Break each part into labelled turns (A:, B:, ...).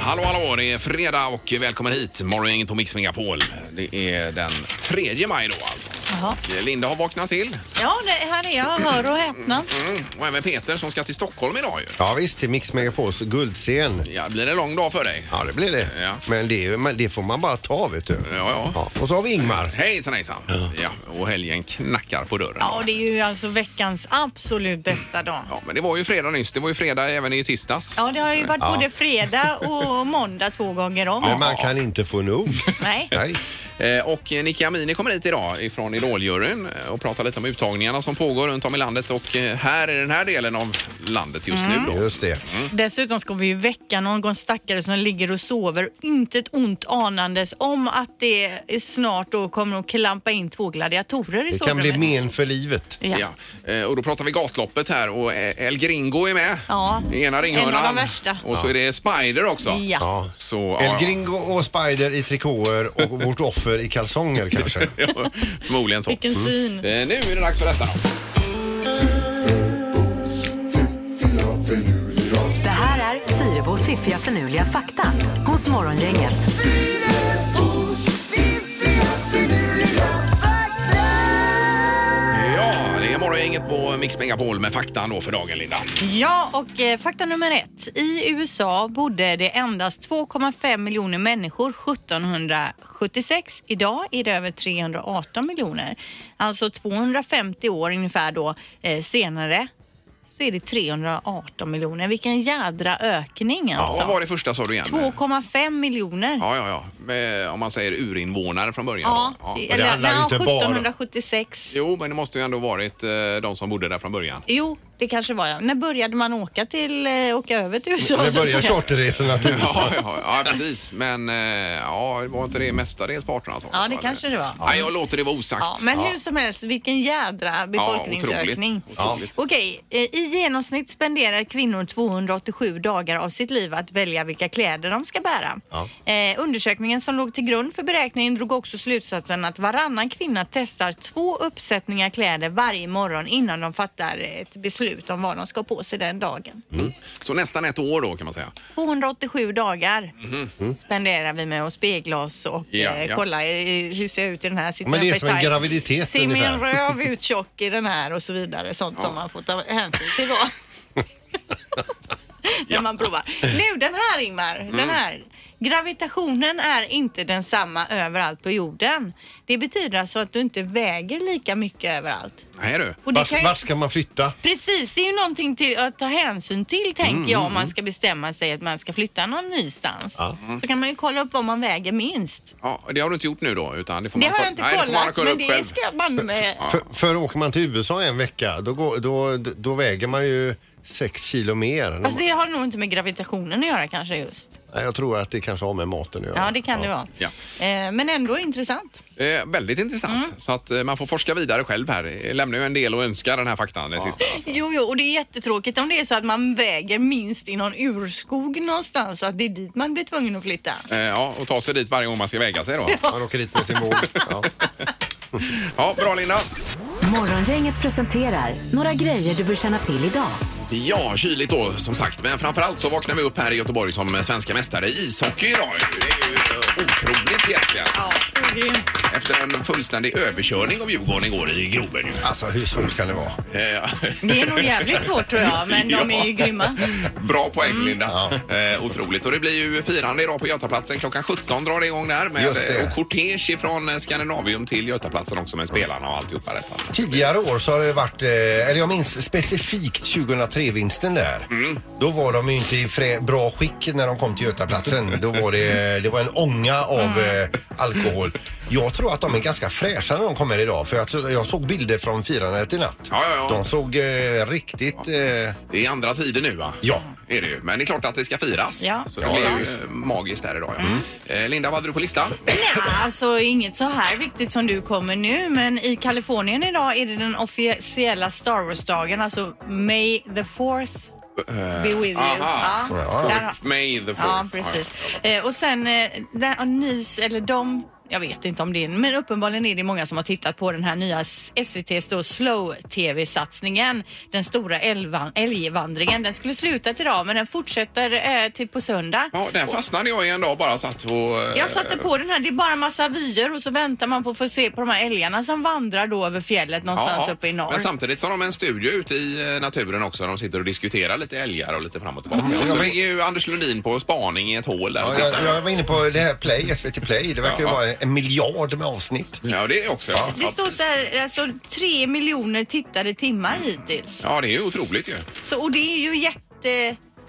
A: Hallå, hallå! Det är fredag och välkommen hit. Morgongänget på Mix Megapol. Det är den 3 maj då alltså.
B: Jaha.
A: Och Linda har vaknat till.
B: Ja, det, här är jag. Hör och häpna.
A: Mm. Och även Peter som ska till Stockholm idag ju.
C: Ja visst, till Mix Megapols guldscen.
A: Ja, det blir en lång dag för dig.
C: Ja, det blir det.
A: Ja.
C: Men det, är ju- men det får man bara ta, vet du.
A: ja.
C: Ja. Och så har vi Ingmar.
A: Hejsan hejsan! Ja, och helgen knackar på dörren.
B: Ja, och det är ju alltså veckans absolut bästa dag.
A: Ja, men det var ju fredag nyss. Det var ju fredag även i tisdags.
B: Ja, det har ju varit både fredag och måndag två gånger om.
C: Men man kan inte få nog.
B: Nej.
C: Nej.
A: Eh, Och Nicky Amini kommer hit idag ifrån Idoljuryn eh, och pratar lite om uttagningarna som pågår runt om i landet och eh, här i den här delen av landet just
B: Mm.
A: nu då.
C: Just det.
B: Dessutom ska vi ju väcka någon stackare som ligger och sover, inte ett ont anandes om att det snart då kommer att klampa in två gladiatorer i
C: Det kan bli
B: sovrummet.
C: men för livet.
B: Ja.
A: Ja. eh, Och då pratar vi gatloppet här och eh, El Gringo är med.
B: Ja.
A: I ena ringhörnan.
B: En av de värsta.
A: Och så är det Spider också.
B: Ja.
C: Ja.
A: Så, ja,
C: El Gringo och Spider i trikåer och vårt offer i kalsonger kanske.
A: ja, förmodligen så. Eh,
B: Vilken syn.
A: Nu är det dags för detta.
D: Det här är Fyrabos fiffiga förnuliga fakta hos Morgongänget.
A: Ja, det är morgongänget på Mix Megapol med faktan då för dagen Linda.
B: Ja, och eh, fakta nummer ett. I USA bodde det endast 2,5 miljoner människor 1776. Idag är det över 318 miljoner. Alltså 250 år ungefär då eh, senare så är det 318 miljoner. Vilken jädra ökning
A: Ja, vad
B: alltså.
A: var det första sa du igen?
B: 2,5 miljoner.
A: Ja, ja, ja. Men, Om man säger urinvånare från början.
B: Ja,
A: då. ja.
C: det
B: eller
C: handlar ju
B: nej,
C: inte bara-
B: 1776.
A: Jo, men det måste ju ändå varit eh, de som bodde där från början.
B: Jo, det kanske var jag. När började man åka till, eh, åka över till USA?
C: Nu
B: så att
C: börjar
B: säga?
C: charterresorna typ. till
A: Ja, ja, ja precis. Men eh, ja, det var inte det mestadels på 1800-talet?
B: Ja, det
A: va?
B: kanske det var.
A: Nej, jag låter det vara osagt.
B: Ja, men hur som helst, vilken jädra befolkningsökning.
A: otroligt. Otroligt.
B: Okej, eh, i genomsnitt spenderar kvinnor 287 dagar av sitt liv att välja vilka kläder de ska bära. Eh, undersökningen som låg till grund för beräkningen drog också slutsatsen att varannan kvinna testar två uppsättningar kläder varje morgon innan de fattar ett beslut om vad de ska ha på sig den dagen.
A: Så nästan ett år då kan man säga.
B: 287 dagar
C: Mhm.
B: spenderar vi med att spegla oss och
A: Ja,
B: eh,
A: ja.
B: kolla eh, hur ser jag ut i den här situationen.
C: Men det är som en graviditet
B: Ser min
C: ungefär.
B: röv ut tjock i den här och så vidare. Sånt som man får ta hänsyn till då. När man provar. Nu den här Ingmar,
C: Mm.
B: den här. Gravitationen är inte densamma överallt på jorden. Det betyder alltså att du inte väger lika mycket överallt.
A: Nej du.
B: Och det kan
C: Vart,
B: ju-
C: vart ska man flytta?
B: Precis, det är ju någonting till att ta hänsyn till tänker
A: Mm,
B: jag om man ska bestämma sig att man ska flytta någon nystans. Så kan man ju kolla upp vad man väger minst.
A: Ja, det har du inte gjort nu då? Utan det får
B: Det
A: man
B: har
A: kolla-
B: jag inte
A: Nej, det får man
B: kollat
A: kolla
B: men
A: upp
B: det
A: själv.
B: ska man eh, med.
C: För, för åker man till USA en vecka då, går, då, då väger man ju sex kilo mer.
B: Fast det har nog inte med gravitationen att göra kanske just.
C: Nej, Jag tror att det kanske har med maten att göra.
B: Ja, det kan det vara.
A: Ja.
B: Eh, Men ändå intressant.
A: Eh, väldigt intressant.
B: Mm.
A: Så att eh, man får forska vidare själv här. Jag lämnar ju en del och önskar den här faktan, den sista.
B: Jo, jo, och det är jättetråkigt om det är så att man väger minst i någon urskog någonstans så att det är dit man blir tvungen att flytta.
A: Eh, ja, och ta sig dit varje gång man ska väga sig då.
C: Man åker dit med sin mor. Ja.
A: Ja, bra Linda.
D: Morgongänget presenterar några grejer du bör känna till idag.
A: Ja, kyligt då som sagt. Men framförallt så vaknar vi upp här i Göteborg som svenska mästare i ishockey idag. Det är ju eh, otroligt egentligen.
B: Ja, så grymt.
A: Efter en fullständig överkörning av Djurgården igår i Groben. ju.
C: Alltså hur svårt kan det vara?
A: Eh,
B: Det är nog jävligt svårt tror jag, men de är ju
A: Ja.
B: grymma.
A: Bra poäng
B: Mm.
A: Linda. Eh, otroligt. Och det blir ju firande idag på Götaplatsen. Klockan 17 drar det igång där. Med, eh,
C: Just det.
A: och kortege ifrån eh, Scandinavium till Götaplatsen också med spelarna och alltihopa detta.
C: Tidigare år så har det varit, eh, eller jag minns specifikt 2003-vinsten där.
A: Mm.
C: Då var de ju inte i frä, bra skick när de kom till Götaplatsen. Då var det, det var en ånga av
A: Mm.
C: eh, alkohol. Jag tror att de är ganska fräscha när de kommer idag för jag, jag såg bilder från firandet i natt.
A: Ja, ja, ja.
C: De såg eh, riktigt... Eh,
A: Det är andra tider nu va?
C: Ja.
A: Är det ju. Men det är klart att det ska firas.
B: Ja.
A: Så det
B: Ja,
A: blir
B: ja,
A: ju
B: visst. Mm.
A: eh, magiskt här idag. Ja. Eh, Linda, vad hade du på listan?
B: Nej, alltså inget så här viktigt som du kommer nu, men i Kalifornien idag är det den officiella Star Wars-dagen, alltså May the fourth be with you.
A: aha.
B: Ja,
C: Ja.
B: där har-
A: May the fourth.
B: Ja, precis. Eh, och sen eh, där, och NIS, eller de jag vet inte om det är, men uppenbarligen är det många som har tittat på den här nya s- SVT's då slow-tv-satsningen. Den stora älvan- älgvandringen. Den skulle slutat idag men den fortsätter eh, till på söndag.
A: Ja, där fastnade jag i en dag bara satt och... eh,
B: Jag satte på den här, det är bara massa vyer och så väntar man på att få se på de här älgarna som vandrar då över fjället någonstans uppe i norr.
A: Men samtidigt så har de en studio ute i eh, naturen också där de sitter och diskuterar lite älgar och lite fram och tillbaka. Och så ligger ju Anders Lundin på spaning i ett hål där.
C: Ja, jag, jag var inne på det här Play, SVT Play. Det verkar ju
A: Ja.
C: vara en miljard med avsnitt.
A: Ja, det är det också. Ja.
B: Det står så här, alltså tre miljoner tittade timmar hittills.
A: Ja, det är ju otroligt ju.
B: Så, och det är ju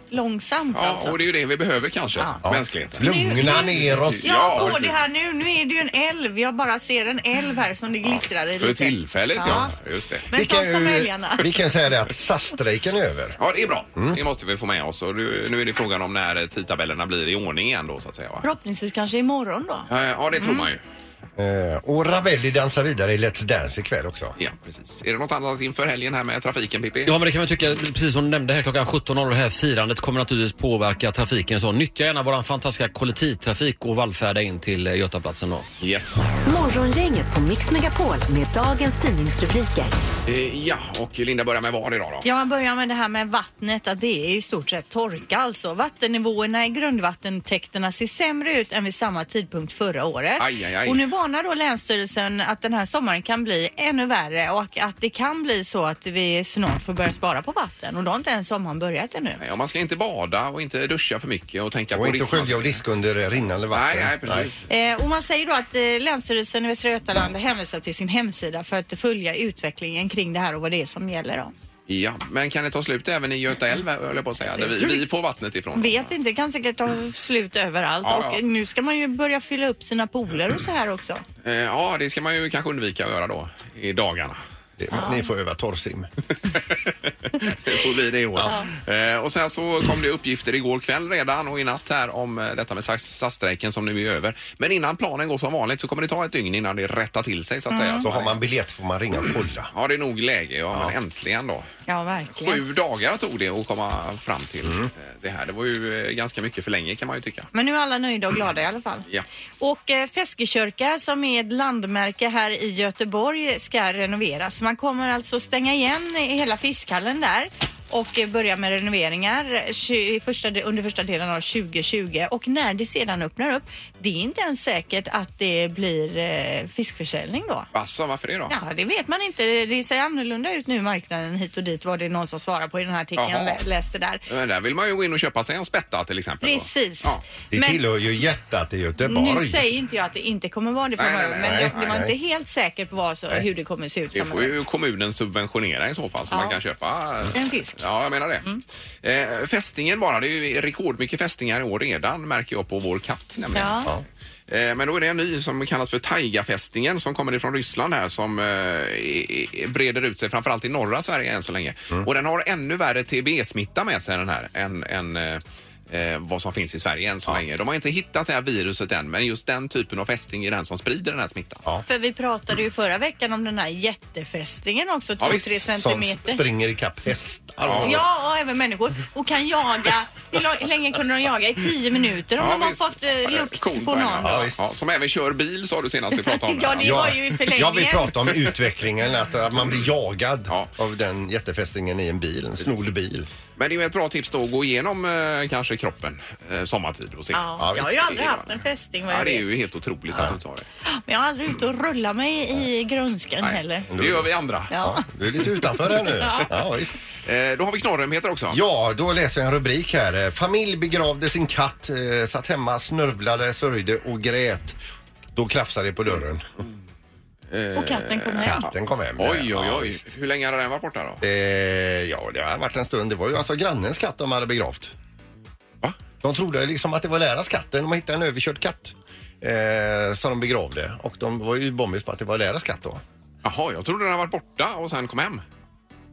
B: jättelångsamt
A: Ja,
B: alltså.
A: och det är ju det vi behöver kanske,
B: Ja.
A: mänskligheten.
C: Lugna neråt.
A: Ja,
B: Ja, på det
A: precis.
B: här nu. Nu är det ju en älv. Jag bara ser en älv här som det glittrar i
A: För
B: lite.
A: tillfället, ja. Just det.
B: Men
C: Vi
B: snart
C: kan,
B: kommer
C: ju,
B: älgarna.
C: vi kan säga det att SAS-strejken är över.
A: Ja, det är bra. Det måste vi få med oss. Och nu nu är det frågan om när eh, tidtabellerna blir i ordning igen då, så att säga. Va?
B: Förhoppningsvis kanske imorgon då.
A: Eh, Ja, det tror
B: Mm.
A: man ju.
C: Eh, och Ravelli dansar vidare i Let's Dance ikväll också.
A: Ja, precis. Är det något annat inför helgen här med trafiken, Pippi?
E: Ja, men det kan man tycka, precis som du nämnde här klockan 17.00, det här firandet kommer naturligtvis påverka trafiken. Så nyttja gärna våran fantastiska kollektivtrafik och vallfärda in till eh, Götaplatsen då.
A: Yes.
D: Morgongänget på Mix Megapol med dagens tidningsrubriker.
A: Eh, Ja, och Linda börjar med var idag då?
B: Ja, man börjar med det här med vattnet, att det är i stort sett torka alltså. Vattennivåerna i grundvattentäkterna ser sämre ut än vid samma tidpunkt förra året.
A: Aj, aj, aj.
B: Och nu varnar då Länsstyrelsen att den här sommaren kan bli ännu värre och att det kan bli så att vi snart får börja spara på vatten. Och då har inte ens sommaren börjat ännu.
A: Nej, och man ska inte bada och inte duscha för mycket och tänka
C: Och
A: på
C: inte
A: risken.
C: skölja och diska under rinnande vatten.
A: Nej, nej, precis.
B: Eh, och man säger då att eh, Länsstyrelsen i Västra Götaland hänvisar till sin hemsida för att följa utvecklingen kring det här och vad det är som gäller. Då.
A: Ja, men kan det ta slut även i Göta älv, höll jag på att säga, där vi, vi får vattnet ifrån?
B: Vet inte, det kan säkert ta slut överallt
A: Ja,
B: och
A: ja.
B: nu ska man ju börja fylla upp sina pooler och så här också.
A: Eh, Ja, det ska man ju kanske undvika att göra då, i dagarna.
C: Det- Ni får öva torrsim.
A: Det får bli det i år. Eh, Och sen så kom det uppgifter igår kväll redan och i natt här om eh, detta med SAS- SAS-strejken som nu är över. Men innan planen går som vanligt så kommer det ta ett dygn innan det rättar till sig så att säga.
C: Så har man biljett får man ringa och kolla.
A: Ja, det är nog läge. Ja, men äntligen då.
B: Ja, verkligen.
A: Sju dagar tog det att komma fram till eh, det här. Det var ju eh, ganska mycket för länge kan man ju tycka.
B: Men nu är alla nöjda och glada i alla fall.
A: Ja.
B: Och eh, Feskekörka som är ett landmärke här i Göteborg ska renoveras. Man kommer alltså stänga igen hela fiskhallen där och eh, börja med renoveringar tju- i första, de- under första delen av 2020 och när det sedan öppnar upp det är inte ens säkert att det blir eh, fiskförsäljning då.
A: Alltså, varför det då?
B: Ja, det vet man inte. Det ser annorlunda ut nu i marknaden hit och dit var det någon som svarade på i den här artikeln jag
A: Jaha.
B: lä- läste där.
A: Men där vill man ju gå in och köpa sig en spätta till exempel. då.
B: Precis.
A: Ja.
C: Det
B: Men-
C: tillhör ju hjärtat i Göteborg.
B: nu säger inte jag att det inte kommer vara det
A: Nej,
B: framöver,
A: nej,
B: men
A: nej,
B: jag,
C: nej,
B: det var
C: nej.
B: inte helt säkert på vad, så,
C: Nej.
B: hur det kommer se ut
A: Det får
B: framöver.
A: ju kommunen subventionera i så fall så
B: Ja.
A: man kan köpa eh,
B: En fisk.
A: Ja, jag menar det.
B: Mm.
A: Eh, fästingen bara, det är ju rekordmycket fästingar i år redan märker jag på vår katt nämligen.
B: Ja.
A: Eh, Men då är det en ny som kallas för taigafästingen som kommer ifrån Ryssland här som eh, i- i- breder ut sig framförallt i norra Sverige än så länge. Och den har ännu värre TB-smitta med sig den här än, än eh, eh, vad som finns i Sverige än så länge. De har inte hittat det här viruset än men just den typen av fästing är den som sprider den här smittan.
B: För vi pratade ju förra veckan om den här jättefästingen också,
A: Ja,
B: 2-3
A: visst.
C: Som
B: centimeter.
C: springer ikapp hästar.
B: Ja, och även människor. Och kan jaga. Hur lång- hur länge kunde de jaga? I 10 minuter om de har
A: visst.
B: fått eh, lukt
A: Coolt
B: på
A: poäng.
B: någon.
A: Ja,
B: då.
A: visst. ja, som även kör bil sa du senast vi pratade om.
B: Ja, det
A: ja.
B: var ju i förlängningen.
C: Jag vill prata om utvecklingen, att, att man blir jagad
A: Ja.
C: av den jättefästingen i en bil, en snodd bil.
A: Men det är ju ett bra tips då att gå igenom eh, kanske kroppen eh, sommartid och se.
B: Ja, jag har ju
A: visst,
B: aldrig
A: det är-
B: haft en fästing vad
A: Ja,
B: jag
A: det är
B: vet.
A: ju helt otroligt att du tar det.
B: Men jag har aldrig ute och rullat mig i grönskan heller.
C: Mm.
A: Nej, det gör vi andra.
B: Ja.
C: Du är lite utanför här nu. Ja, visst.
A: Eh, då har vi knorrömheter också.
C: Ja, då läser jag en rubrik här. Eh, Familj begravde sin katt, eh, satt hemma, snörvlade, sörjde och grät. Då krafsade det på dörren. eh,
B: Och katten kom hem.
C: Katten kom hem.
A: Oj, oj,
C: Ja,
A: oj.
C: visst.
A: Hur länge har den varit borta då?
C: Eh, ja, det har varit en stund. Det var ju alltså grannens katt de hade begravt.
A: Va?
C: De trodde liksom att det var deras katt. De hittade en överkörd katt eh, som de begravde. Och de var ju bombis på att det var deras katt då.
A: Jaha, jag trodde den har varit borta och sen kom hem.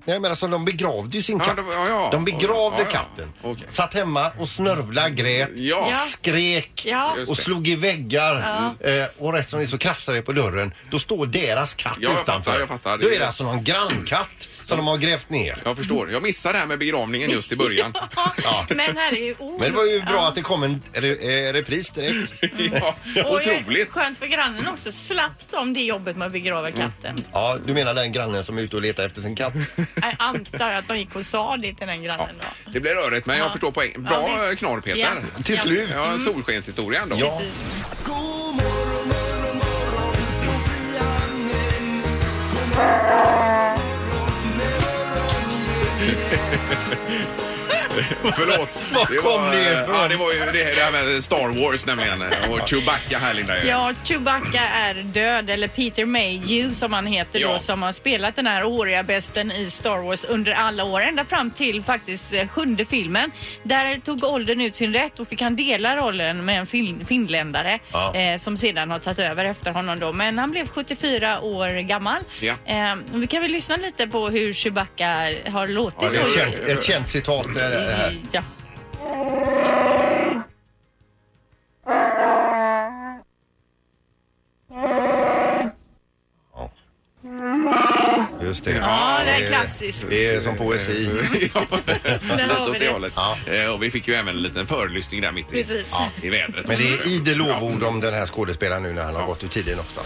C: Nej men alltså de begravde ju sin
A: Ja,
C: katt.
A: de- ja, ja.
C: De begravde
A: Ja, ja.
C: katten.
A: Okej.
C: Satt hemma och snörvla, grät,
A: Ja. Ja.
C: skrek
B: Ja.
A: Just
C: och
A: det.
C: slog i väggar. Eh, och rätt som det är så krafsar det på dörren. Då står deras katt
A: Ja, jag
C: utanför.
A: fattar, jag fattar.
C: Då är det alltså någon grannkatt som de har grävt ner.
A: Jag förstår. Jag missade det här med begravningen just i början.
B: Ja. Men här är ju oh,
C: Men det var ju bra att det kom en re, eh, repris direkt.
A: ja,
B: Och ju
A: otroligt.
B: Skönt för grannen också. Slapp de det jobbet med att begrava
C: Mm.
B: katten.
C: Ja, du menar den grannen som är ute och letar efter sin katt?
B: Jag antar att de gick och sa det till den grannen då.
A: Det blir rörigt, men jag förstår poängen. Bra
B: Ja,
A: ja,
B: visst.
A: knorr, Peter.
B: Ja.
C: Till slut.
A: Ja, solskenshistorien då.
C: Ja.
A: Förlåt.
C: Var
A: Det
C: kom
A: var,
C: ni
A: eh,
C: ifrån?
A: ja, det var ju det, det här med Star Wars nämligen. eh, Och Chewbacca här Linda. ju.
B: Ja, Chewbacca är död, eller Peter Mayhew som han heter
A: Ja.
B: då, som har spelat den här åriga besten i Star Wars under alla år, ända fram till faktiskt eh, sjunde filmen. Där tog åldern ut sin rätt och fick han dela rollen med en fin finländare
C: Ja.
B: eh, som sedan har tagit över efter honom då. Men han blev 74 år gammal.
A: Ja.
B: Eh, vi kan väl lyssna lite på hur Chewbacca har låtit.
A: Ja, det
B: då.
C: Ett känt, ett känt citat är det här.
B: ja.
C: Just det. Eh,
B: ja, det
A: Eh,
B: är klassiskt.
C: Det är som poesi.
A: Ja, lite
B: har vi
A: åt det
B: det.
A: hållet.
C: Ja.
A: Eh, Och vi fick ju även en liten förlyssning där mitt i,
B: Precis.
A: ja, i vädret.
C: Men det är idel lovord om den här skådespelaren nu när han har gått ur tiden också.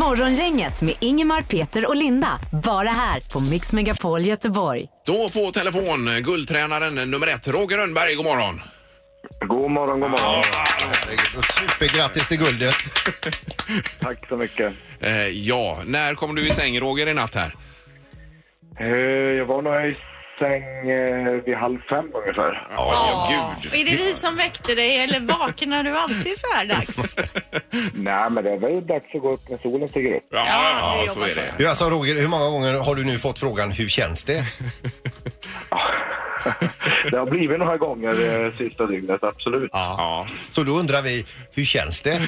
D: Morgongänget med Ingemar, Peter och Linda. Bara här på Mix Megapol Göteborg.
A: Då på telefon, eh, guldtränaren nummer ett, Roger Rönnberg. God morgon!
F: God morgon, god morgon.
C: Och Supergrattis till guldet.
F: Tack så mycket.
A: Eh, ja, när kom du i säng Roger i natt här?
F: Eh, Jag var nog här i säng eh, vid halv fem ungefär.
A: Ja, gud.
B: Är det vi som väckte dig eller vaknar du alltid så här dags?
F: Nej, men det var ju dags att gå upp när solen stiger upp.
A: Ja,
B: Ja,
A: ja,
B: vi
A: så
B: jobbar
A: är
B: så.
A: det.
C: Du, alltså Roger, hur många gånger har du nu fått frågan hur känns det?
F: Det har blivit några gånger eh, sista dygnet, absolut.
A: Ja.
C: Så då undrar vi, hur känns det?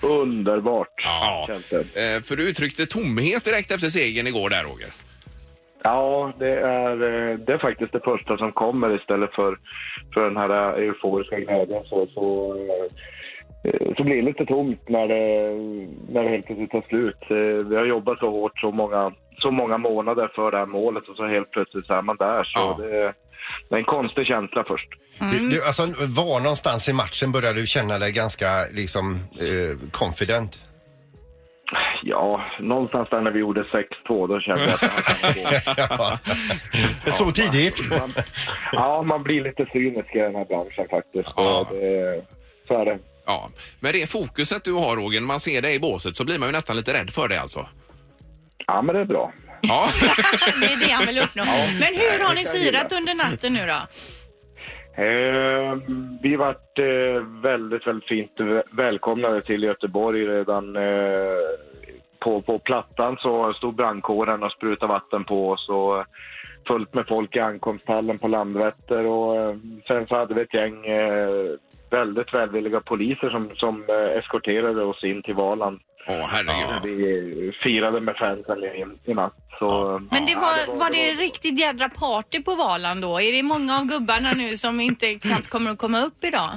F: Underbart.
A: Ja.
F: känns det.
A: Eh, För du uttryckte tomhet direkt efter segern igår där Roger.
F: Ja, det är, eh, det är faktiskt det första som kommer istället för, för den här eh, euforiska glädjen. Så, så, eh, så blir det lite tomt när det, när det helt plötsligt tar slut. Eh, Vi har jobbat så hårt så många, så många månader för det här målet och så helt plötsligt så är man där. Så
A: Ja.
F: det, det är en konstig känsla först.
C: Du, du, alltså, var någonstans i matchen började du känna dig ganska liksom eh, confident?
F: Ja, någonstans där när vi gjorde 6-2 då kände jag att det här kan gå.
C: Så tidigt?
F: man, Ja, man blir lite cynisk i den här branschen faktiskt.
A: Ja.
F: Och det, så är det.
A: Ja, men det fokuset du har Roger, när man ser dig i båset så blir man ju nästan lite rädd för dig alltså.
F: Ja, men det är bra.
A: Ja,
B: Det är det han vill uppnå. Men hur har ni firat under natten nu då?
F: Eh, vi vart eh, väldigt, väldigt fint vä- välkomnade till Göteborg redan eh, på, på plattan så stod brandkåren och sprutade vatten på oss och eh, fullt med folk i ankomsthallen på Landvetter och eh, sen så hade vi ett gäng eh, väldigt välvilliga poliser som, som eh, eskorterade oss in till Valand.
A: Åh herregud.
F: Vi firade med fansen i, i natt. Så, eh,
B: Men det
F: Ja,
B: var, var det riktigt jädra party på Valand då? Är det många av gubbarna nu som inte knappt kommer att komma upp idag?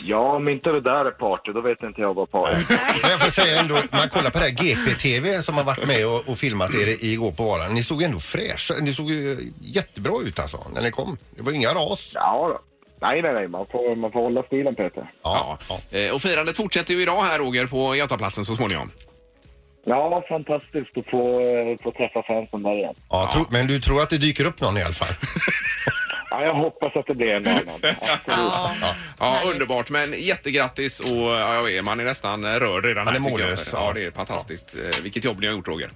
F: Ja, om inte det där är party, då vet inte jag vad party är.
C: Men jag får säga ändå, man kollar på det här GP-TV som har varit med och, och filmat er igår på varan. Ni såg ändå fräscha, ni såg ju jättebra ut alltså när ni kom. Det var inga ras.
F: Ja då. Nej, nej, nej. Man får, man får hålla stilen, Peter.
A: Ja. Eh, Och firandet fortsätter ju idag här Roger på Götaplatsen så småningom.
F: Ja, fantastiskt att få, eh, få träffa fansen där igen.
C: Ja, tro, men du tror att det dyker upp någon i alla fall?
F: Ja, jag hoppas att det blir en annan.
B: Ja.
A: Ja, underbart. Men jättegrattis och ja, jag är, man är nästan rörd redan
C: Man
A: här.
C: är
A: tycker jag.
C: mållös, ja.
A: Ja, det är fantastiskt. Eh, Vilket jobb ni har gjort Roger.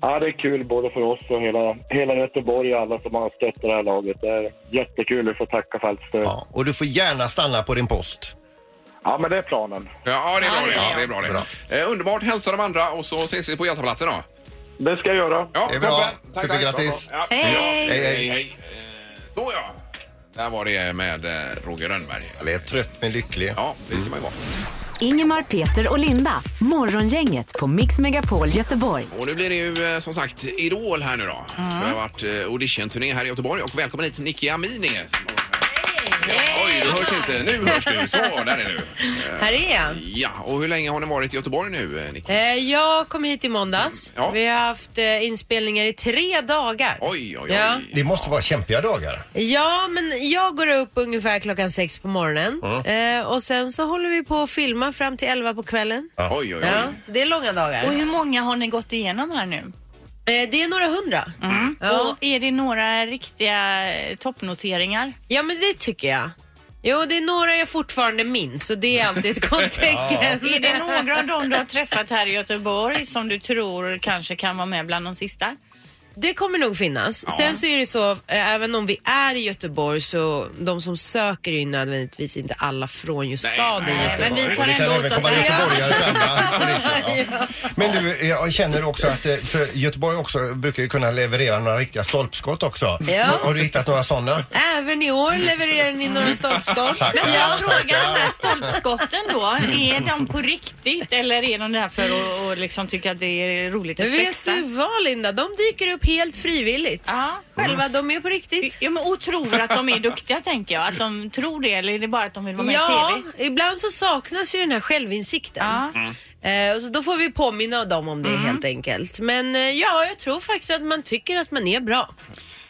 F: Ja, det är kul både för oss och hela, hela Göteborg och alla som har stött det här laget. Det är jättekul. Vi får tacka för allt stöd. Ja.
C: Ja, och du får gärna stanna på din post.
F: men det är planen.
A: Ja, det är bra det. Ja, det, är bra det.
C: Bra.
A: Eh, underbart. Hälsa de andra och så ses vi på Götaplatsen då.
F: Det ska jag göra.
A: Ja,
C: Det är bra.
A: toppen. Tack, tack.
C: Supergrattis.
A: Ja,
B: Hej.
A: ja,
C: Hej, hej.
A: Hej, hej. Eh, Så ja. Där var det med eh, Roger Rönnberg.
C: Jag är trött men lycklig.
A: Ja, det ska man ju vara.
D: Ingemar, Peter och Linda. Morgongänget på Mix Megapol Göteborg.
A: Och nu blir det ju eh, som sagt Idol här nu då.
G: Mm.
A: Det har varit eh, auditionturné här i Göteborg och välkommen hit Nicky Amini. Oj, du hörs inte. Nu hörs du. Så, där är du.
G: Här är jag.
A: Ja, och hur länge har ni varit i Göteborg nu, eh, Nicky?
G: Eh, Jag kom hit i måndags.
A: Ja.
G: Vi har haft eh, inspelningar i tre dagar.
A: Oj, oj, oj.
G: Ja.
C: Det måste vara kämpiga dagar.
G: Ja, men jag går upp ungefär klockan sex på morgonen eh, och sen så håller vi på att filma fram till elva på kvällen.
A: Oj, oj, oj.
G: Ja, så det är långa dagar.
B: Och hur många har ni gått igenom här nu?
G: Eh, det är några hundra.
A: Mm.
G: Ja.
B: Och är det några riktiga eh, toppnoteringar?
G: ja, men det tycker jag. Jo, det är några jag fortfarande minns och det är alltid ett gott tecken.
B: Är det några av dem du har träffat här i Göteborg som du tror kanske kan vara med bland de sista?
G: Det kommer nog finnas. Sen så är det så, eh, även om vi är i Göteborg så de som söker är ju nödvändigtvis inte alla från just
A: Nej,
G: staden
A: nej,
G: Göteborg.
B: Men vi tar
C: Och det
B: ändå
C: kan även
B: åt oss
C: komma
B: äran.
C: göteborgare till andra polisen, ja. Men du, jag känner också att eh, för Göteborg också brukar ju kunna leverera några riktiga stolpskott också.
G: Ja.
C: Har du hittat några sådana?
G: Även i år levererar ni några stolpskott.
B: Men jag frågar de här stolpskotten då, är de på riktigt eller är de där för att och liksom tycka att det är roligt att
G: Vet
B: spexa?
G: du vad Linda, de dyker upp helt frivilligt. Mm.
B: Ja.
G: Själva, de är på riktigt.
B: Ja, men, och tror att de är duktiga tänker jag, att de tror det eller är det bara att de vill vara med i
G: Ja,
B: TV?
G: ibland så saknas ju den här självinsikten.
B: Ja.
G: Eh, och så då får vi påminna dem om det helt enkelt. Men eh, ja, jag tror faktiskt att man tycker att man är bra.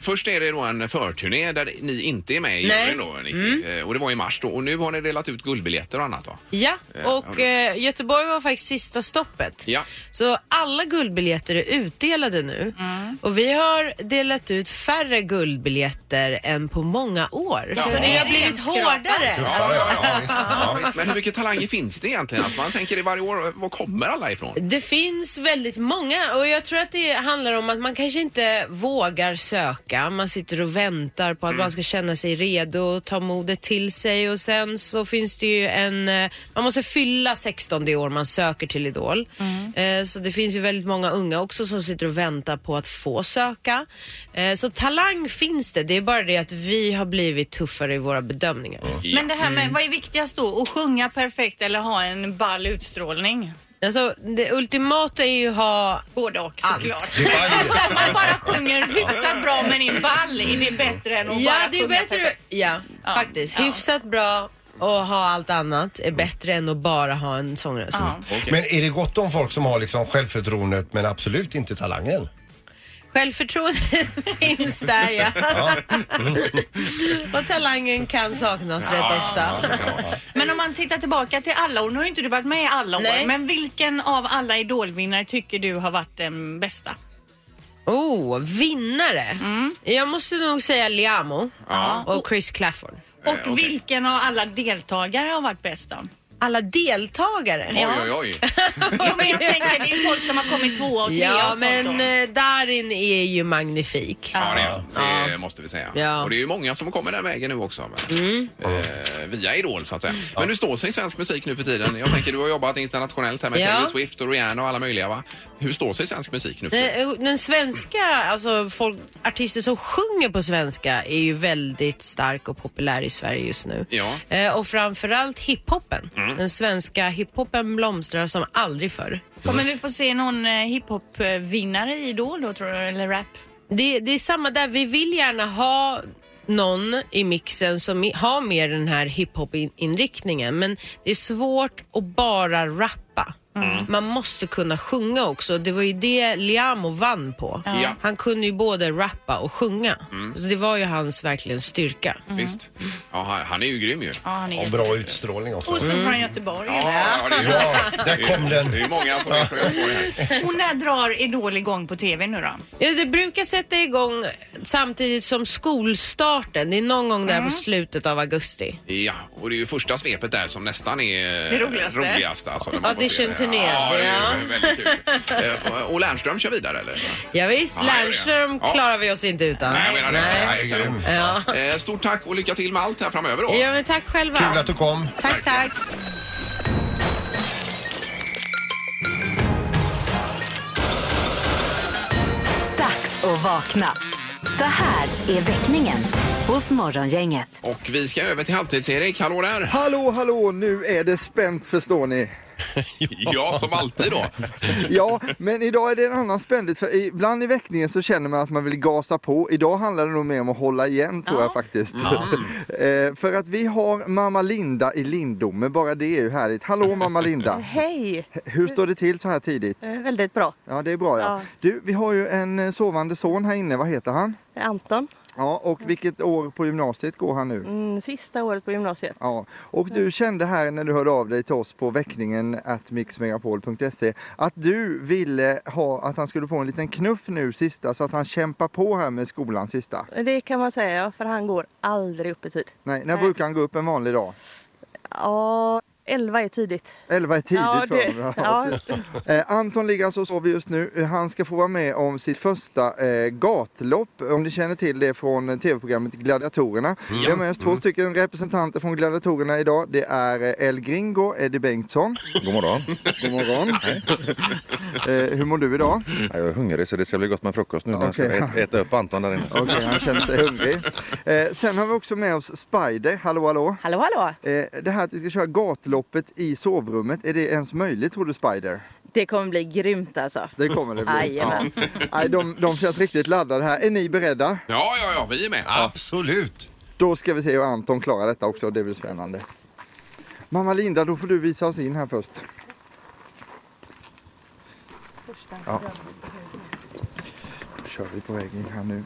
A: Först är det då en förturné där ni inte är med i
G: Nej. Mm.
A: juryn då, Nicky. Eh, Och det var i mars då. Och nu har ni delat ut guldbiljetter och annat då.
G: Ja, och eh, Göteborg var faktiskt sista stoppet.
A: Ja.
G: Så alla guldbiljetter är utdelade nu. Och vi har delat ut färre guldbiljetter än på många år. Så det har blivit
B: Renskrapa.
G: hårdare.
C: Ja, ja, ja, visst.
A: Ja,
C: Ja.
A: visst. Men hur mycket talanger finns det egentligen? Alltså, man tänker i varje år, var kommer alla ifrån?
G: Det finns väldigt många och jag tror att det handlar om att man kanske inte vågar söka. Man sitter och väntar på att
B: Mm.
G: man ska känna sig redo och ta modet till sig och sen så finns det ju en, eh, man måste fylla 16 det år man söker till Idol.
B: Mm.
G: Eh, Så det finns ju väldigt många unga också som sitter och väntar på att få söka. Eh, Så talang finns det, det är bara det att vi har blivit tuffare i våra bedömningar.
B: Men det här med, vad är viktigast då? Att sjunga perfekt eller ha en ball utstrålning?
G: Alltså det ultimata är ju att ha
B: Både och såklart.
C: Det var-
B: Om man bara sjunger hyfsat bra men är ball, är det bättre än att
G: Ja,
B: bara
G: det är
B: sjunga
G: bättre.
B: perfekt?
G: Ja, faktiskt.
B: Ja.
G: Hyfsat bra och ha allt annat är bättre än att bara ha en sångröst.
B: Ja.
C: Men är det gott om folk som har liksom självförtroendet men absolut inte talangen?
G: Självförtroendet finns där ja. och talangen kan saknas rätt ofta.
B: Men om man tittar tillbaka till alla år, nu har ju inte du varit med i alla år,
G: Nej.
B: men vilken av alla idolvinnare tycker du har varit den bästa?
G: Oh, vinnare.
B: Mm.
G: Jag måste nog säga Liamo och Chris Clafford.
B: Och vilken av alla deltagare har varit bäst då?
G: Alla deltagare.
A: Oj, oj, oj.
B: Jo, men jag tänker det är ju folk som har kommit tvåa och trea
G: Ja,
B: och sånt
G: men
B: då.
G: eh, Darin är ju magnifik.
A: Ja, det, är- det måste vi säga.
G: Ja.
A: Och det är ju många som kommer den vägen nu också. Men, eh, via Idol så att säga. Men du står sig svensk musik nu för tiden. Jag tänker du har jobbat internationellt här med
G: Ja.
A: Taylor Swift och Rihanna och alla möjliga va? Hur står sig svensk musik nu för tiden?
G: Den, eh, den svenska, alltså folk, artister som sjunger på svenska är ju väldigt stark och populär i Sverige just nu.
A: Ja.
G: Eh, och framförallt hiphopen. Den svenska hiphopen blomstrar som aldrig förr.
B: Kommer vi få se någon eh, hiphop-vinnare i Idol då tror du, eller rap?
G: Det, det är samma där, vi vill gärna ha någon i mixen som i- har mer den här hiphop-inriktningen men det är svårt att bara rappa.
A: Mm.
G: Man måste kunna sjunga också. Det var ju det Liamo vann på.
A: Ja. Mm.
G: Han kunde ju både rappa och sjunga. Så det var ju hans verkligen styrka.
A: Visst? Ja, han- han är ju grym ju.
B: Ja, Mm. han är
C: Och
B: jättebra.
C: bra utstrålning också.
B: Och så från Göteborg.
A: Ja, ja, det är ju-
C: Ja, där kom den.
A: Det är ju många som är från Göteborg här.
B: Och när drar Idol igång på TV nu då?
G: Ja, det brukar sätta igång samtidigt som skolstarten. Det är någon gång
A: Mm.
G: där på slutet av augusti.
A: Ja, och det är ju första svepet där som nästan är
B: Det roligaste.
A: roligast alltså, när man får se det.
G: Audition-turné,
A: Ja, det är
G: ja.
A: ju väldigt kul. Eh, och- Och Lernström kör vidare eller?
G: Ja, visst,
A: Ja, det är det.
G: Lernström
A: Ja.
G: klarar vi oss inte utan.
A: Nej, jag menar det.
G: Nej.
A: Nej, kanon. Eh, Stort tack och lycka till med allt här framöver då.
G: Ja, men tack själva.
C: Kul att du kom.
G: Tack, tack.
D: Dags att vakna. Det här är väckningen. hos Morgongänget.
A: Och vi ska över till halvtids-Erik. Hallå där!
H: Hallå, hallå, nu är det spänt förstår ni.
A: Ja, som alltid då.
H: Ja, men idag är det en annan spändhet för ibland i väckningen så känner man att man vill gasa på. Idag handlar det nog mer om att hålla igen tror jag faktiskt. Eh, för att vi har mamma Linda i Lindome, bara det är ju härligt. Hallå mamma Linda!
I: Hej!
H: Hur står det till så här tidigt?
I: Eh, Väldigt bra.
H: Ja, det är bra ja.
I: Ja.
H: Du, vi har ju en eh, sovande son här inne, vad heter han?
I: Anton,
H: Ja, och vilket år på gymnasiet går han nu?
I: mm, sista året på gymnasiet.
H: Ja, och
I: Mm.
H: du kände här när du hörde av dig till oss på väckningen at mixmegapol.se att du ville ha att han skulle få en liten knuff nu sista så att han kämpar på här med skolan sista.
I: Det kan man säga, ja, för han går aldrig upp i tid.
H: Nej, när brukar han gå upp en vanlig dag?
I: Ja, 11 är tidigt.
H: 11 är tidigt
I: ja,
H: för honom. Ja,
I: ja,
H: Eh, Anton ligger alltså och sover just nu. Eh, Han ska få vara med om sitt första eh, gatlopp, om ni känner till det från eh, tv-programmet Gladiatorerna. Vi har med oss två stycken representanter från Gladiatorerna idag. Det är eh, El Gringo, Eddie Bengtsson.
J: God morgon.
H: God morgon. eh, hur mår du idag?
C: Mm.
J: Jag är hungrig så det ska bli gott med frukost nu när jag ska
H: Okej.
J: ät- äta upp Anton där inne.
H: Okej, han känner sig hungrig. Eh, sen har vi också med oss Spider. Hallå, hallå.
I: Hallå, hallå!
H: Eh, det här att vi ska köra gatloppet i sovrummet, är det ens möjligt tror du Spider?
I: Det kommer bli grymt alltså.
H: Det kommer det bli.
I: Jajamän.
H: Nej, de, de känns riktigt laddade här. Är ni beredda?
A: Ja, ja, ja, vi är med.
C: Absolut.
H: Då ska vi se hur Anton klarar detta också. Det blir spännande. Mamma Linda, då får du visa oss in här först. Ja. Då kör vi på väg in här nu.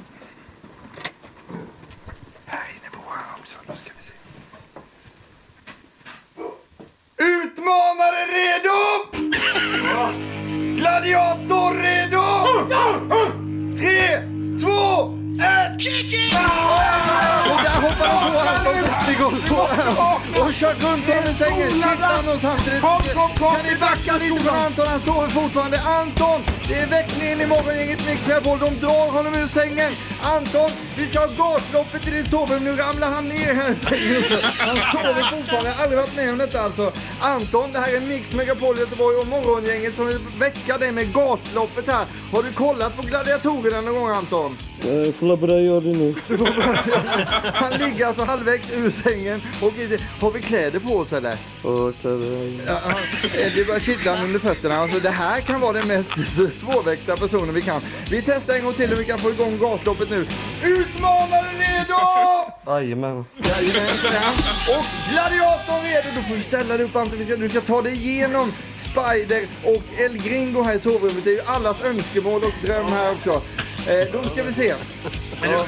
H: Här inne bor han också. Då ska vi se. Utmanare redo! Gladiator redo! Tre, två, ett! Och där hoppar han på Anton Zettergård här och kör runt honom i sängen. Kittlar honom samtidigt. Kan ni backa lite från Anton? Han sover fortfarande. Anton! Det är väckningen i morgongänget Mix Megapol. De drar honom ur sängen. Anton, vi ska ha gatloppet i ditt sovrum. Nu ramlar han ner här i sängen. Han sover fortfarande. Jag har aldrig varit med om detta alltså. Anton, det här är Mix Megapol Göteborg och morgongänget som vill väcka dig med gatloppet här. Har du kollat på gladiatorerna någon gång Anton? Han ligger alltså halvvägs ur sängen och i- har vi kläder på oss eller? Ja, ja. Det börjar kittla under fötterna. Alltså, det här kan vara den mest s- svårväckta personen vi kan. Vi testar en gång till om vi kan få igång gatloppet nu. Utmanare redo! Jajamän. Jajamän. Och gladiatorn redo. Du får du ställa dig upp Anton. Vi ska- Du ska ta dig igenom Spider och El Gringo här i sovrummet. Det är ju allas önskemål och dröm här också. Eh, då ska vi se. Men, eh,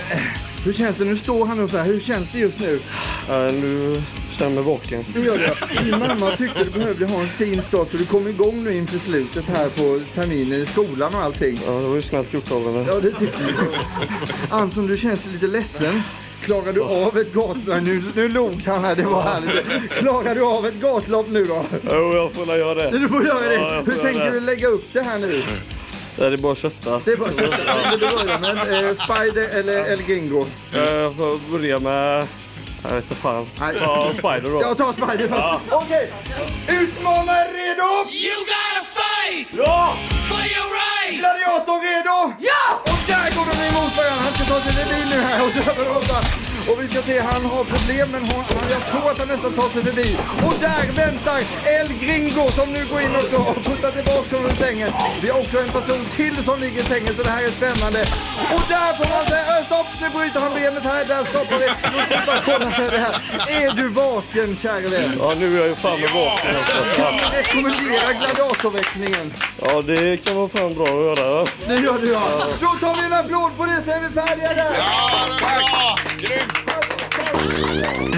H: Hur känns det? Nu står han upp här. Hur känns det just nu?
I: nu känner jag vaken.
H: Nu gör det. Din mamma tyckte du behövde ha en fin start så du kom igång nu inför slutet här på terminen i skolan och allting.
I: Ja, det var ju snällt gjort av henne.
H: Ja, det tyckte du. Anton, du känns lite ledsen. Klarar du av ett gatlopp? Nu, nu log han här, det var härligt. Klarar du av ett gatlopp nu då?
I: Jo, jag får göra det.
H: Du får göra
I: Ja,
H: det.
I: jag får
H: Hur
I: göra
H: tänker
I: det.
H: du lägga upp det här nu?
I: Det är bara att kötta.
H: Det är bara att köra. Men, eh, Spider eller El Gringo?
I: Jag får börja med... Jag vet inte fan.
H: Nej.
I: Ja, Spider då.
H: Jag tar Spider först. Okej. Utmanare redo! You gotta fight!
I: Ja!
A: For your right!
H: Gladiatorn redo? Ja! Och där går de emot varandra. Han ska ta sin bil nu här och överlåta. Och vi ska se, han har problem men hon, han, jag tror att han nästan tar sig förbi. Och där väntar El Gringo som nu går in också och puttar tillbaka honom ur sängen. Vi har också en person till som ligger i sängen så det här är spännande. Och där får man säga, "Ö, stopp, nu bryter han benet här, där stoppar vi. Nu ska vi bara kolla det här. Är du vaken käre vän?
I: Ja, nu är jag ju fan med vaken alltså.
H: Kan vi rekommendera gladiatorväckningen?
I: Ja, det kan vara fan bra att göra.
H: Det gör du ja. Då tar vi en applåd på det så är vi färdiga där.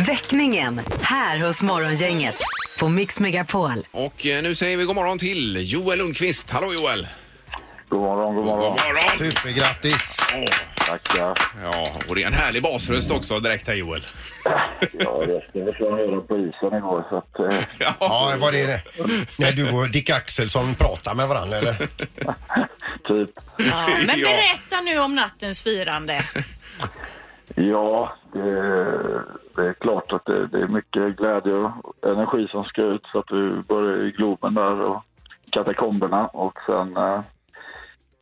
D: Väckningen här hos Morgongänget på Mix Megapol.
A: Och eh, nu säger vi god morgon till Joel Lundqvist. Hallå Joel!
F: God morgon, god morgon.
A: morgon!
C: Supergrattis.
F: Tackar.
A: Ja, och det är en härlig basröst också direkt här Joel.
F: Ja, resten fick jag höra på isen igår så att... Eh,
C: Ja, var det när du och Dick Axelsson pratar med varandra eller?
F: typ.
B: Ja, men berätta nu om nattens firande.
F: Ja, det, det är klart att det, det är mycket glädje och energi som ska ut. Så att du börjar i Globen där och katakomberna och sen eh,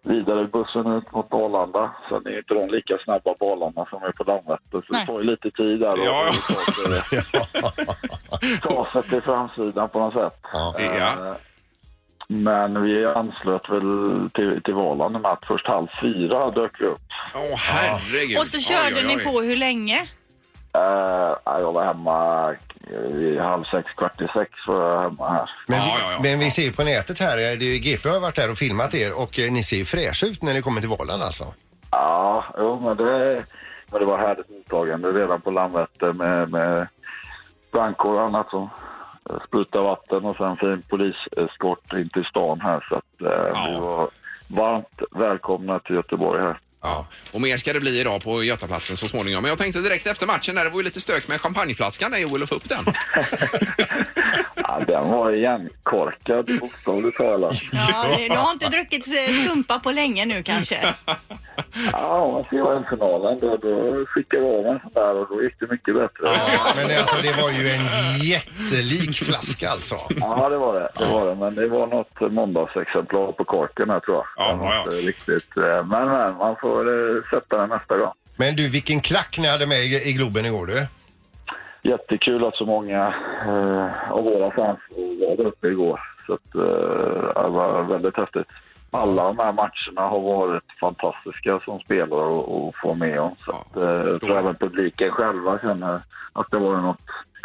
K: vidare bussen ut mot Arlanda. Sen är inte de lika snabba på Arlanda som är på Landvetter. Så det tar ju lite tid där. då.
A: Ja,
K: Ta sig till framsidan på något sätt. Eh, Men vi anslöt väl till, till Valand med att först halv fyra dök vi upp.
A: Åh herregud.
B: Och så körde ni på hur länge?
K: Eh, jag var hemma i halv sex, kvart i sex var jag hemma här.
C: Men, vi, men vi ser ju på nätet här, eh, det är ju GP har varit där och filmat er och eh, ni ser ju fräscha ut när ni kommer till Valand alltså.
K: Ja, jo, men det, men det var härligt mottagande redan på Landvetter med, med brandkår och annat som sprutade vatten och sen fin poliseskort in till stan här. Så att, eh, vi var varmt välkomna till Göteborg här.
A: Ja. Och mer ska det bli idag på Götaplatsen så småningom. Men jag tänkte direkt efter matchen där, det var ju lite stök med champagneflaskan när Joel få upp den.
K: Ja, den var igenkorkad bokstavligt talat.
B: Ja, du har inte druckit eh, skumpa på länge nu kanske?
K: Ja, om man ser VM-finalen då, då skickade jag av en sån där och då gick det mycket bättre.
C: Men det, alltså, det var ju en jättelik flaska alltså.
K: Ja, det var det. det, var det. Men det var något måndagsexemplar på korken här tror jag. Ja, ja, Riktigt. eh, Men, men man får eh, sätta den nästa gång.
C: Men du, vilken klack ni hade med i, i Globen igår du.
K: Jättekul att så många eh, av våra fans var där uppe igår. Så att, eh, det var väldigt häftigt. Alla de här matcherna har varit fantastiska som spelare och, och få med om. Så att, eh, jag tror även publiken själva känner att det var något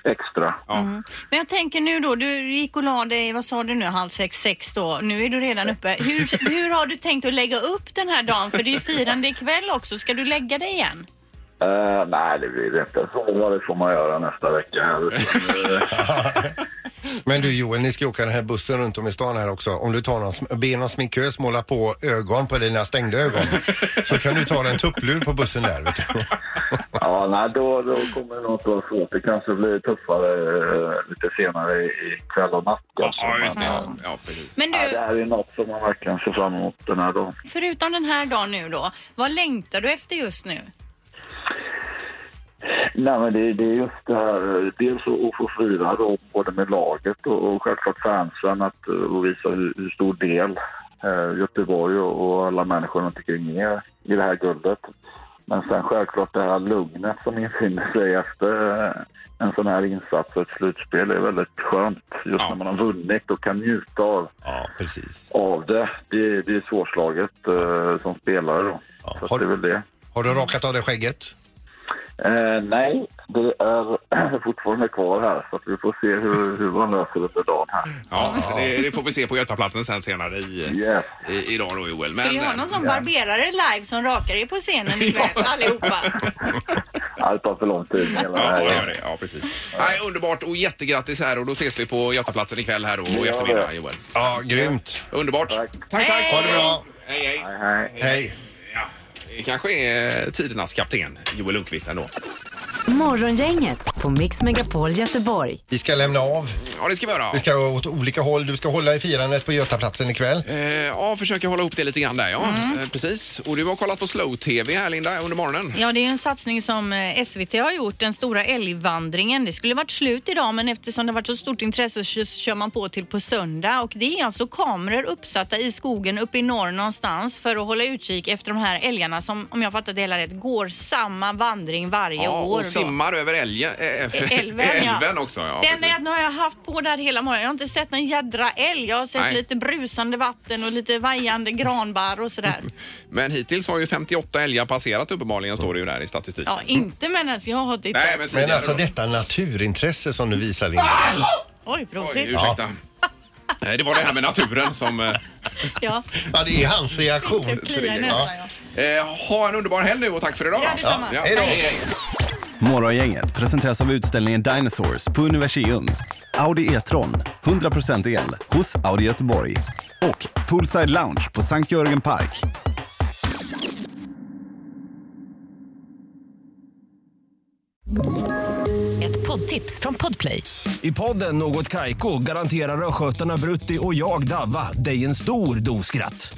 K: extra.
B: Mm. Men jag tänker nu då, du gick och la dig, vad sa du nu, halv sex, sex då. Nu är du redan uppe. Hur, hur har du tänkt att lägga upp den här dagen? För det är ju firande ikväll också. Ska du lägga dig igen?
K: Eh, nej, det blir det inte. Så det får man göra nästa vecka. här. Utan, eh,
C: Men du Joel, ni ska ju åka den här bussen runt om i stan här också. Om du tar någon, sm- ber någon sminkös måla på ögon på dina stängda ögon så kan du ta dig en tupplur på bussen där. Vet du.
K: Ja, nej, då, då kommer det nog inte vara svårt. Det kanske blir tuffare eh, lite senare i- i kväll och natt. Kanske. Ja, just det. Ja,
A: precis.
B: Men du-
K: det här är något som man verkligen ser fram emot den här dagen.
B: Förutom den här dagen nu då, vad längtar du efter just nu?
K: Nej, men det, det är just det här, eh, dels att att få fira då, både med laget och, och självklart fansen, att eh, och visa hur, hur stor del eh, Göteborg och, och alla människor runt omkring är i det här guldet. Men sen självklart det här lugnet som infinner sig efter eh, en sån här insats och ett slutspel är väldigt skönt. Just när man har vunnit och kan njuta av, av det. det. Det är svårslaget eh, som spelare då. Så att det är väl det.
C: Har du rakat av dig skägget?
K: Eh, nej, det är fortfarande kvar här så att vi får se hur, hur man löser det under dagen här.
A: Ja, det, det får vi se på Götaplatsen sen senare i, i, idag då Joel.
B: Ska vi ha någon som barberare live som rakar er på scenen ikväll allihopa?
A: eh,
K: Ja, det tar för lång tid. Hela det
A: Ja,
K: här.
A: det gör det. Ja, precis. Nej, underbart och jättegrattis här och då ses vi på Götaplatsen ikväll här och i eftermiddag Joel.
C: Ja, grymt.
A: Underbart. Tack, tack.
C: Ha det bra.
A: Hej, hej.
K: Hej.
C: Hej.
A: Ja, det kanske är tidernas kapten Joel Lundqvist ändå.
D: Morgongänget på Mix Megapol Göteborg.
C: Vi ska lämna av.
A: Ja, det ska vi göra.
C: Vi ska åt olika håll. Du ska hålla i firandet på Götaplatsen ikväll.
A: Eh, ja, försöka hålla ihop det lite grann där ja. Eh, precis. Och du har kollat på Slow-TV här Linda under morgonen.
B: Ja, det är ju en satsning som eh, SVT har gjort, den stora älgvandringen. Det skulle varit slut idag, men eftersom det har varit så stort intresse så kör man på till på söndag. Och det är alltså kameror uppsatta i skogen uppe i norr någonstans för att hålla utkik efter de här älgarna som, om jag fattat det hela rätt, går samma vandring varje
A: Ja,
B: år. då. E-
A: och simmar över älgen, eh,
B: Älven, ja.
A: älven också. Ja,
B: Den
A: precis.
B: älgen har jag haft på där hela morgonen. Jag har inte sett en jädra älg. Jag har sett
A: Nej.
B: lite brusande vatten och lite vajande granbarr och sådär.
A: Men hittills har ju 58 älgar passerat uppenbarligen står det ju där i statistiken.
B: Ja, inte medan jag har tittat.
A: Nej, men
C: Men
A: tidigare
C: alltså
A: då.
C: detta naturintresse som du visar Linda.
B: Oj, prosit.
A: Oj, ursäkta. Nej, Det var det här med naturen som... eh,
B: Ja.
C: Ja, det är hans reaktion.
A: triggade. Ja. Eh, ha en underbar helg nu och tack för idag.
B: Ja, detsamma.
A: Ja,
B: Hej då.
A: hej, hej.
L: Morgongänget presenteras av utställningen Dinosaurs på Universium. Audi E-tron, 100% el hos Audi Göteborg. Och Poolside Lounge på Sankt Jörgen Park.
M: Ett poddtips från Podplay. I podden Något Kaiko garanterar östgötarna Brutti och jag, Davva, dig en stor dos skratt.